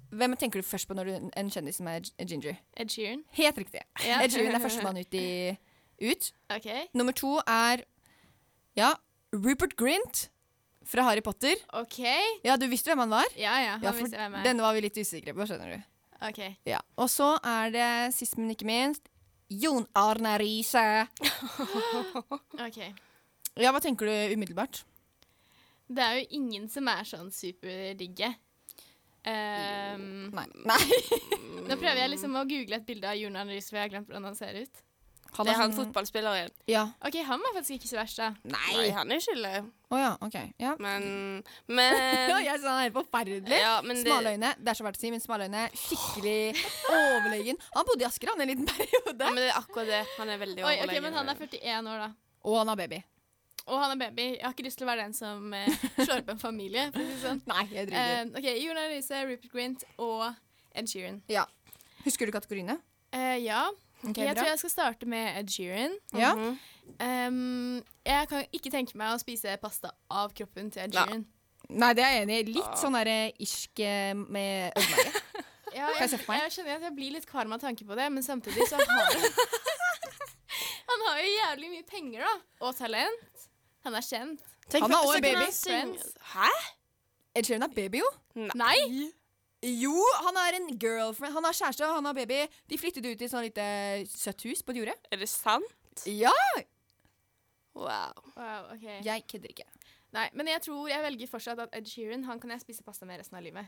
Speaker 3: Hvem tenker du først på når du en kjendis som er gi- ginger?
Speaker 1: Ed Sheeran.
Speaker 3: Helt riktig.
Speaker 1: Ja.
Speaker 3: Ed Sheeran er førstemann ut, i, ut.
Speaker 1: OK.
Speaker 3: Nummer to er Ja, Rupert Grint fra Harry Potter.
Speaker 1: OK.
Speaker 3: Ja, du visste hvem han var?
Speaker 1: Ja, ja.
Speaker 3: Ja,
Speaker 1: Han
Speaker 3: for
Speaker 1: visste hvem jeg er.
Speaker 3: denne var vi litt usikre på, skjønner du.
Speaker 1: OK.
Speaker 3: Ja. Og så er det sist, men ikke minst, Jon Arne Riise.
Speaker 1: ok.
Speaker 3: Ja, hva tenker du umiddelbart?
Speaker 1: Det er jo ingen som er sånn superdigge. Um,
Speaker 3: Nei. Nei.
Speaker 1: Nå prøver jeg liksom å google et bilde av Jon Arne Riise, for jeg har glemt hvordan han ser ut.
Speaker 3: Han
Speaker 6: Det er han
Speaker 3: sånn-
Speaker 6: fotballspilleren.
Speaker 3: Ja.
Speaker 1: OK, han var faktisk ikke så verst, da.
Speaker 6: Nei, han er ikke ille.
Speaker 3: Å ja, OK. Ja.
Speaker 6: Men Men
Speaker 3: Ja, jeg sa han er helt forferdelig.
Speaker 6: Ja, men det-
Speaker 3: Smale øyne. Det er så verdt å si, men smale øyne skikkelig overlegen. Han bodde i Asker han, en liten
Speaker 6: Ja,
Speaker 3: periode.
Speaker 6: men det er akkurat det. Han er
Speaker 1: Oi,
Speaker 6: veldig overlegen.
Speaker 1: ok, Men han er 41 år, da.
Speaker 3: Og han har baby.
Speaker 1: Og han er baby. Jeg har ikke lyst til å være den som eh, slår opp en familie. for å si det sånn.
Speaker 3: Nei, jeg driter.
Speaker 1: Eh, OK, Jon Arne Riise, Rupert Grint og Ed Sheeran.
Speaker 3: ja. Husker du kategoriene?
Speaker 1: Eh, ja.
Speaker 3: Ok,
Speaker 1: jeg
Speaker 3: bra.
Speaker 1: tror jeg skal starte med Ed Sheeran.
Speaker 3: Ja.
Speaker 6: Mhm.
Speaker 1: Um, jeg kan ikke tenke meg å spise pasta av kroppen til Ed
Speaker 6: Nei.
Speaker 1: Sheeran.
Speaker 3: Nei, det er jeg enig i. Litt sånn derre irsk eh, med ødelage.
Speaker 1: Ja,
Speaker 3: jeg
Speaker 1: jeg,
Speaker 3: se
Speaker 1: jeg,
Speaker 3: for meg?
Speaker 1: skjønner at jeg blir litt kvalm av tanke på det, men samtidig så har han Han har jo jævlig mye penger, da. Og talent. Han er kjent.
Speaker 6: Tenk
Speaker 3: Han
Speaker 6: på-
Speaker 3: har også
Speaker 6: så kan
Speaker 3: baby.
Speaker 6: han synge- Hæ?
Speaker 3: Ed Sheeran har baby, jo.
Speaker 1: Nei!
Speaker 3: Jo, han har en girlfriend. Han har kjæreste og han har baby. De flyttet ut i sånn lite søtt hus på et jorde.
Speaker 6: Er det sant?
Speaker 3: Ja!
Speaker 6: Wow.
Speaker 1: Wow, ok.
Speaker 3: Jeg kødder ikke.
Speaker 1: Nei, men jeg tror jeg velger fortsatt at Ed Sheeran han kan jeg spise pasta med resten av livet.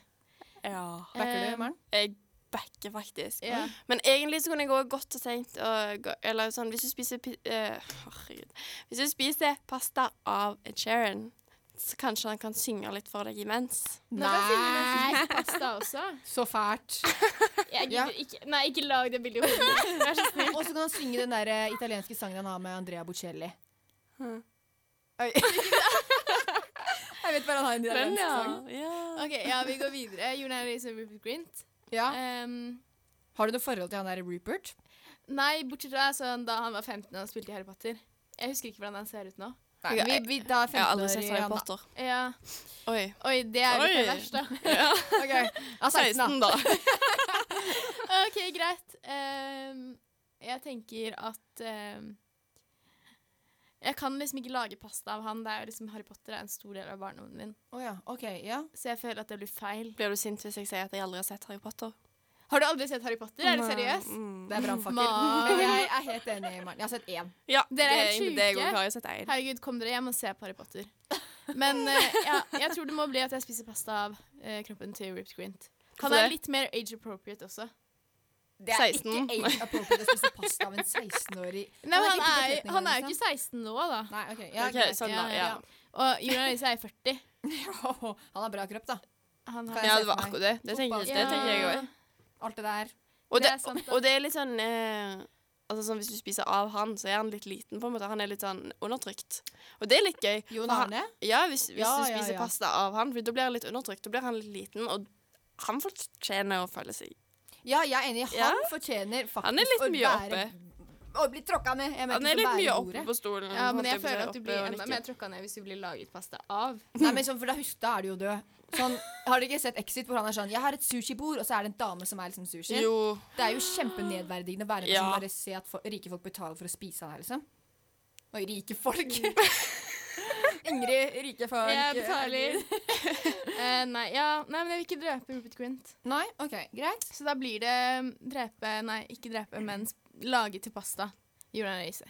Speaker 6: Ja.
Speaker 3: Backer
Speaker 1: Eh,
Speaker 3: du, Maren?
Speaker 6: Jeg backer faktisk.
Speaker 1: Ja.
Speaker 6: Men egentlig så kunne jeg også godt og tenkt å gå- Eller sånn Hvis du spiser pi- eh, Herregud. Hvis du spiser pasta av Ed Sheeran, så kanskje han kan synge litt for deg imens.
Speaker 1: Nå kan Silje Nordnes spise pasta også.
Speaker 3: Så fælt.
Speaker 1: Jeg
Speaker 3: Ja.
Speaker 1: gidder ikke, nei, ikke lag det bildet i hodet mitt. Vær så snill.
Speaker 3: Og så kan han synge den der eh, italienske sangen han har med Andrea Bocelli.
Speaker 6: Hm.
Speaker 3: Oi. Jeg vet bare han har en italiensk sang.
Speaker 6: ja.
Speaker 1: Ok, ja, Vi går videre. Jon Arne Riise og Rupert Grint.
Speaker 3: Ja.
Speaker 1: Um,
Speaker 3: Har du noe forhold til han der Rupert?
Speaker 1: nei, bortsett fra sånn, da han var 15 og spilte i Harry Potter. Jeg husker ikke hvordan han ser ut nå.
Speaker 3: Nei, vi, vi, da er
Speaker 6: Jeg
Speaker 3: 15
Speaker 6: har aldri
Speaker 3: år
Speaker 6: sett
Speaker 3: i
Speaker 6: Harry
Speaker 3: han, da.
Speaker 6: Potter.
Speaker 1: Ja.
Speaker 6: Oi.
Speaker 1: Oi, det er jo
Speaker 6: Oi.
Speaker 1: det verste.
Speaker 3: Ok. Ja, 16, da.
Speaker 6: 16, da.
Speaker 1: OK, greit. Ehm, jeg tenker at ehm, Jeg kan liksom ikke lage pasta av han. Det er jo liksom Harry Potter er en stor del av barndommen min.
Speaker 3: Å ja. OK. Ja.
Speaker 1: Så jeg føler at det blir feil.
Speaker 6: Blir du sint hvis jeg sier at jeg aldri har sett Harry Potter?
Speaker 1: Har du aldri sett Harry Potter? Er du seriøs?
Speaker 6: Mm.
Speaker 3: Det er brannfakkel. Men
Speaker 1: Man.
Speaker 3: jeg er helt enig, Maren. Jeg har sett én.
Speaker 6: Ja,
Speaker 1: Dere er helt
Speaker 6: det egentlig det
Speaker 1: syke.
Speaker 6: jeg også har. Jeg har sett én.
Speaker 1: Herregud, kom dere hjem og se på Harry Potter. Men eh, ja, jeg tror det må bli at jeg spiser pasta av eh, kroppen til Ripped Grint. Han
Speaker 6: Hvorfor
Speaker 1: er
Speaker 6: det?
Speaker 1: litt mer age appropriate også.
Speaker 3: Det er
Speaker 6: 16.
Speaker 3: ikke age appropriate å spise pasta av en 16-årig
Speaker 1: Nei, men han, er,
Speaker 3: ikke på liksom.
Speaker 1: han er jo
Speaker 3: flyktningene,
Speaker 1: ikke 16 nå, da.
Speaker 3: Nei, ok. Ja,
Speaker 6: Ok,
Speaker 3: greit.
Speaker 6: sånn da, ja.
Speaker 1: Og Julian Elise er 40.
Speaker 3: Han har bra kropp, da.
Speaker 1: Han
Speaker 3: Kan
Speaker 1: har
Speaker 3: jeg
Speaker 6: Ja,
Speaker 3: se
Speaker 6: det var
Speaker 3: for meg.
Speaker 6: akkurat det. Det tenker,
Speaker 3: Fotball.
Speaker 6: det tenker jeg òg.
Speaker 3: Alt det der.
Speaker 6: Og
Speaker 1: Det
Speaker 6: det,
Speaker 1: er sant, da.
Speaker 6: og det er litt sånn eh, Altså sånn Hvis du spiser av han, så er han litt liten. på en måte Han er litt sånn undertrykt. Og det er litt gøy.
Speaker 3: Jon
Speaker 6: for han-
Speaker 3: Arne?
Speaker 6: Ja, hvis, hvis
Speaker 3: Ja,
Speaker 6: du
Speaker 3: ja,
Speaker 6: spiser
Speaker 3: ja.
Speaker 6: pasta av han, for da blir han litt undertrykt. Da blir han litt liten, og han fortjener å føle seg
Speaker 3: Ja, jeg er enig. Han
Speaker 6: Ja.
Speaker 3: fortjener faktisk
Speaker 6: Han er litt
Speaker 3: å
Speaker 6: mye
Speaker 3: være Å bli tråkka ned. Jeg mener
Speaker 6: Han
Speaker 3: ikke
Speaker 6: er
Speaker 3: så
Speaker 6: litt
Speaker 3: bære
Speaker 6: mye
Speaker 3: ordet.
Speaker 6: oppe på stolen.
Speaker 1: Ja, men
Speaker 6: holdt
Speaker 1: jeg
Speaker 6: på å si,
Speaker 1: føler Mm. at du
Speaker 6: oppe
Speaker 1: blir
Speaker 6: og
Speaker 1: enda
Speaker 6: nikker.
Speaker 1: mer tråkka ned hvis du blir laget pasta av.
Speaker 3: Nei, men sånn, for da, husk, da er du jo død. Sånn, har dere ikke sett Exit hvor han er sånn Jeg har et sushibord, og så er det en dame som er liksom sushi.
Speaker 6: Jo.
Speaker 3: Det er jo kjempenedverdigende å være ja.
Speaker 6: Ja.
Speaker 3: bare se at fo- rike folk betaler for å spise han her, liksom. Oi, rike folk.
Speaker 6: Mm.
Speaker 3: Ingrid, rike folk.
Speaker 1: Jeg betaler. Eh, nei, ja, nei, men jeg vil ikke drepe Rupert Grint.
Speaker 3: Nei, OK, greit.
Speaker 1: Så da blir det um, drepe Nei, ikke drepe, men sp- lage til pasta. Julian Elise.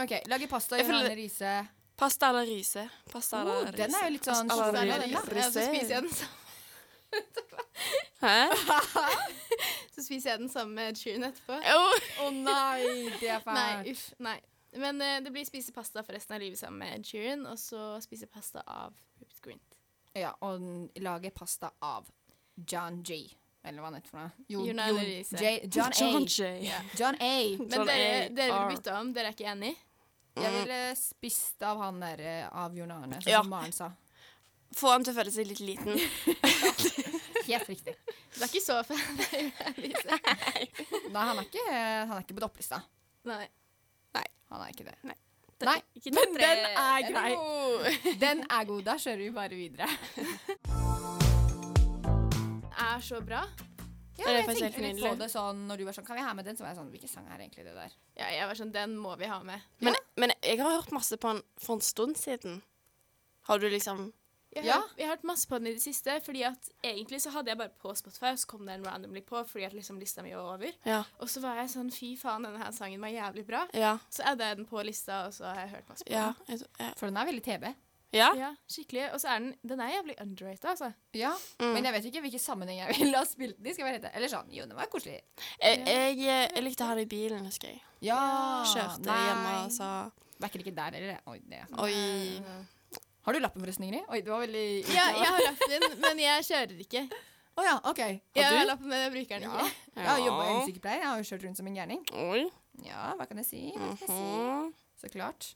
Speaker 3: Ok, Lage pasta
Speaker 6: Jeg
Speaker 3: i
Speaker 6: føler-
Speaker 3: Johanne Riise.
Speaker 6: Pasta eller rise? Pasta
Speaker 3: Oh,
Speaker 6: eller
Speaker 3: den er jo
Speaker 6: rise?
Speaker 3: litt sånn
Speaker 6: Pasta
Speaker 1: Så
Speaker 6: eller
Speaker 1: er det
Speaker 3: den,
Speaker 1: den,
Speaker 3: da.
Speaker 1: da. Ja, så spiser jeg den sammen-
Speaker 6: Hæ?
Speaker 1: så spiser jeg den sammen med Cheeren etterpå.
Speaker 6: Jo.
Speaker 3: Å nei, det er fælt.
Speaker 1: Nei, uff. Nei. Men eh, det blir spise pasta for resten av livet sammen med Ed Sheeran, og så spise pasta av Rupert Grint.
Speaker 3: Ja, og n- lage pasta av John G. Eller hva han heter for noe. Jo,
Speaker 1: Jon
Speaker 3: Jon
Speaker 1: Elise.
Speaker 3: J- John
Speaker 6: John
Speaker 3: A.
Speaker 6: Jay.
Speaker 1: Ja.
Speaker 3: John A.
Speaker 1: Men
Speaker 6: John
Speaker 1: dere,
Speaker 6: A.
Speaker 1: dere
Speaker 6: R.
Speaker 1: vil bytte om? Dere er ikke enig?
Speaker 3: Jeg ville spist av han derre av Jon Arne, sånn
Speaker 6: Ja.
Speaker 3: som Maren sa.
Speaker 6: Få han til å føle seg litt liten.
Speaker 3: Helt riktig.
Speaker 1: Det er ikke så fan.
Speaker 3: Nei, han er ikke, han er ikke på topplista.
Speaker 1: Nei.
Speaker 3: Han er ikke det.
Speaker 6: Det-
Speaker 3: Nei,
Speaker 6: ikke
Speaker 3: men
Speaker 6: topp tre.
Speaker 3: den er grei. Den er god. Da kjører vi bare videre.
Speaker 1: Er så bra.
Speaker 3: Ja,
Speaker 6: Det er
Speaker 3: jeg
Speaker 6: faktisk helt
Speaker 3: tenkte litt på
Speaker 6: nydelig.
Speaker 3: det sånn når du var sånn Kan vi ha med den? Så var jeg sånn Hvilken sang er egentlig det der?
Speaker 1: Ja, jeg var sånn, Den må vi ha med.
Speaker 6: Men, men jeg har hørt masse på han for en stund siden. Har du liksom
Speaker 1: Jeg,
Speaker 3: Ja.
Speaker 1: har, jeg har hørt masse på den i det siste. fordi at Egentlig så hadde jeg bare på Spotify, og så kom den randomly på fordi at liksom lista mi var over.
Speaker 6: Ja.
Speaker 1: Og så var jeg sånn Fy faen, denne her sangen var jævlig bra.
Speaker 6: Ja.
Speaker 1: Så adda jeg den på lista, og så har jeg hørt masse på
Speaker 6: Ja.
Speaker 1: den.
Speaker 6: jeg tror- ja.
Speaker 3: For den er veldig TB.
Speaker 6: ja.
Speaker 1: Ja, skikkelig. Og så er den den er jævlig underrated, altså.
Speaker 3: Ja,
Speaker 6: Mm.
Speaker 3: men jeg vet ikke hvilken sammenheng jeg ville ha spilt den i. skal jeg være rett. Eller sånn, jo, den var koselig.
Speaker 6: Jeg, jeg, jeg likte å ha det i bilen, husker jeg.
Speaker 3: Ja,
Speaker 6: Kjørte
Speaker 3: nei.
Speaker 6: hjemme og sa
Speaker 3: Vekker ikke der, eller? Oi, det er sant.
Speaker 6: oi.
Speaker 3: Har du lappen forresten, Ingrid? Oi, det var veldig...
Speaker 1: Ja, jeg har lappen, men jeg kjører ikke.
Speaker 3: Å ja, ok.
Speaker 1: Jeg
Speaker 3: Har
Speaker 1: har
Speaker 3: du?
Speaker 1: lappen, men jeg bruker den
Speaker 3: Ja.
Speaker 1: ikke.
Speaker 3: Jeg har jobbet som sykepleier. Jeg har jo kjørt rundt som en gærning.
Speaker 6: Oi.
Speaker 3: Ja, hva kan jeg si? Hva skal jeg si?
Speaker 6: Mhm.
Speaker 3: Så klart.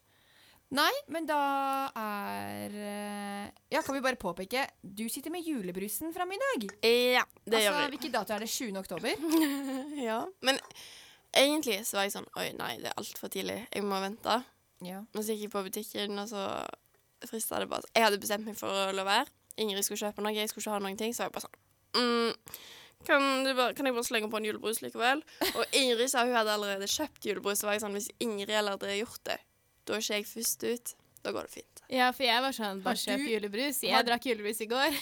Speaker 3: Nei, men da er eh, Ja, kan vi bare påpeke Du sitter med julebrusen fram i dag.
Speaker 6: Ja, det
Speaker 3: altså,
Speaker 6: gjør vi.
Speaker 3: Hvilken dato er det? 7. oktober?
Speaker 6: Ja. Men egentlig så var jeg sånn Oi, nei, det er altfor tidlig. Jeg må vente.
Speaker 3: Ja.
Speaker 6: Men så gikk jeg på butikken, og så frista det bare. sånn. Jeg hadde bestemt meg for å la være. Ingrid skulle kjøpe noe, jeg skulle ikke ha noen ting. Så var jeg bare sånn mm, kan, du bare, kan jeg bare slenge på en julebrus likevel? Og Ingrid sa hun hadde allerede kjøpt julebrus. Så var jeg sånn Hvis Ingrid allerede har gjort det, da er ikke jeg først ut. Da går det fint.
Speaker 1: Ja, for jeg var sånn Bare
Speaker 3: Har du-
Speaker 1: kjøp julebrus.
Speaker 3: har-
Speaker 1: Jeg drakk julebrus i går.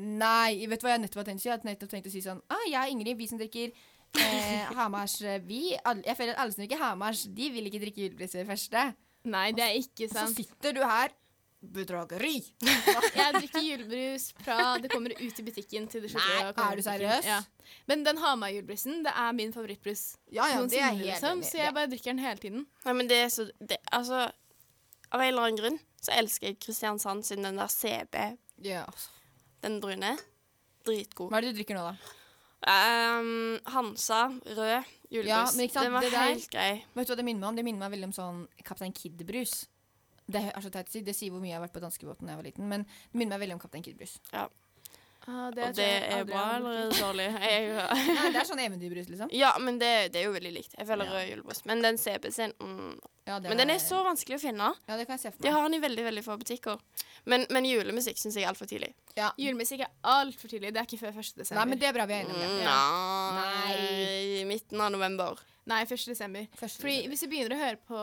Speaker 3: Nei, vet du hva jeg nettopp har tenkt å si? Jeg hadde nettopp tenkt å si sånn ah, Jeg er Ingrid, vi som drikker eh, Hamars eh, Vi alle, Jeg føler at alle som drikker Hamars, de vil ikke drikke julebrus ved første.
Speaker 1: Nei, det er ikke
Speaker 3: Så
Speaker 1: sant.
Speaker 3: sitter du her Bedrageri!
Speaker 1: Jeg drikker julebrus fra det kommer ut i butikken til det slutter
Speaker 3: Nei,
Speaker 1: å komme
Speaker 3: er du
Speaker 1: i butikken.
Speaker 3: seriøs?
Speaker 1: Ja. Men den Hamar-julebrusen, det er min favorittbrus.
Speaker 3: Ah, Ja, ja, det er
Speaker 1: noensinne,
Speaker 3: jeg helt
Speaker 1: liksom,
Speaker 3: enig i.
Speaker 1: så jeg bare drikker den hele tiden.
Speaker 6: Nei, men det er så det, Altså, av en eller annen grunn så elsker jeg Kristiansand sin den der CB,
Speaker 3: Ja, altså.
Speaker 6: den brune. Dritgod.
Speaker 3: Hva er det du drikker nå, da?
Speaker 6: Ehm, Hansa, rød julebrus.
Speaker 3: Ja, men ikke sant,
Speaker 6: Den var
Speaker 3: det der-
Speaker 6: helt grei.
Speaker 3: Vet du hva det minner meg om? Det minner meg veldig om sånn Kaptein Kid-brus. Det er så teit å si. Det sier hvor mye jeg har vært på danskebåten da jeg var liten, men det minner meg veldig om Kaptein Kid-brus.
Speaker 1: Ah,
Speaker 6: Og det er bra eller dårlig? Jeg,
Speaker 3: Nei, det er sånn eventyrbrus, liksom.
Speaker 6: ja, men det, det er jo veldig likt. Jeg føler rød julebrus. Men den CB sin mm.
Speaker 3: Ja, det
Speaker 6: Men den
Speaker 3: var-
Speaker 6: er så vanskelig å finne.
Speaker 3: Ja, det kan jeg se for
Speaker 6: De
Speaker 3: meg.
Speaker 6: har den i veldig veldig få butikker. Men, men julemusikk syns jeg er altfor tidlig.
Speaker 3: Ja.
Speaker 1: Julemusikk er altfor tidlig. Det er ikke før 1. desember.
Speaker 3: Nei, men det er bra vi er enige om det.
Speaker 6: Mm, nei I midten av november.
Speaker 1: Nei, 1. desember.
Speaker 3: Første
Speaker 1: Fordi
Speaker 3: desember.
Speaker 1: hvis du begynner å høre på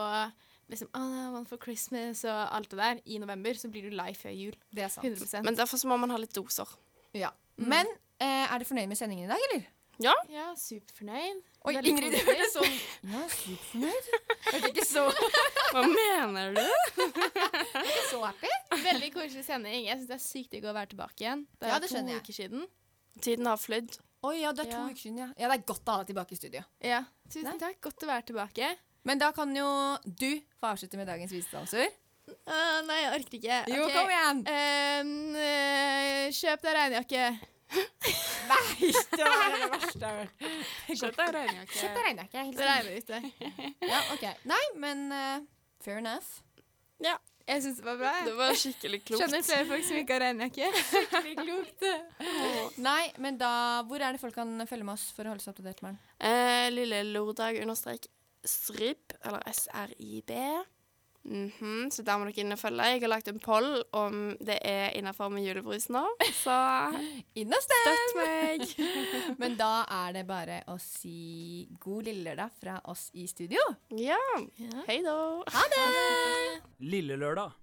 Speaker 1: liksom, «Ah, One for Christmas og alt det der i november, så blir du lei før jul.
Speaker 3: Det er sant.
Speaker 1: 100
Speaker 6: Men derfor så må man ha litt doser.
Speaker 3: Ja. Men eh, er du fornøyd med sendingen i dag, eller?
Speaker 6: Ja.
Speaker 1: Ja, superfornøyd.
Speaker 3: Oi,
Speaker 1: Veldig
Speaker 3: Ingrid, det
Speaker 1: positiv.
Speaker 3: ble sånn Ja, superfornøyd. Hørte ikke så,
Speaker 6: Hva mener du?
Speaker 3: ikke så happy.
Speaker 1: Veldig koselig sending. Jeg syns det er sykt digg å være tilbake igjen. Det er
Speaker 3: Ja, det
Speaker 1: to
Speaker 3: skjønner jeg.
Speaker 1: uker siden.
Speaker 6: Tiden har flydd.
Speaker 3: Oi, ja, det er to
Speaker 1: Ja.
Speaker 3: uker siden, ja. ja. Det er godt å ha deg tilbake i studio.
Speaker 1: Ja, Tusen
Speaker 3: Nei.
Speaker 1: takk. Godt å være tilbake.
Speaker 3: Men da kan jo du få avslutte med dagens visdomsord.
Speaker 1: Ah, nei, jeg orker ikke.
Speaker 3: Jo,
Speaker 1: Ok.
Speaker 3: kom igjen!
Speaker 1: Ehm, eh, kjøp deg regnjakke.
Speaker 3: Nei, det var det verste jeg har hørt.
Speaker 6: Skjønt jeg regner
Speaker 3: Kjøp deg regnejakke.
Speaker 1: Det regner ute.
Speaker 3: Ja, ok. Nei, men eh, fair enough.
Speaker 1: Jeg syns det var bra.
Speaker 6: Det
Speaker 1: Jeg.
Speaker 6: var skikkelig klokt.
Speaker 1: Skjønner flere folk som ikke har regnjakke. Skikkelig klokt.
Speaker 3: Nei, men da Hvor er det folk kan følge med oss for å holde seg oppdatert, Maren?
Speaker 6: Eh, lille lørdag understrek srib, eller SRIB. Mhm, så der må dere inn og følge. Jeg har lagt en poll om det er innafor med julebrus nå, så
Speaker 3: Inn og stem!
Speaker 6: støtt meg.
Speaker 3: Men da er det bare å si god lille lørdag fra oss i studio.
Speaker 6: Ja. Hei da.
Speaker 5: Lille lørdag.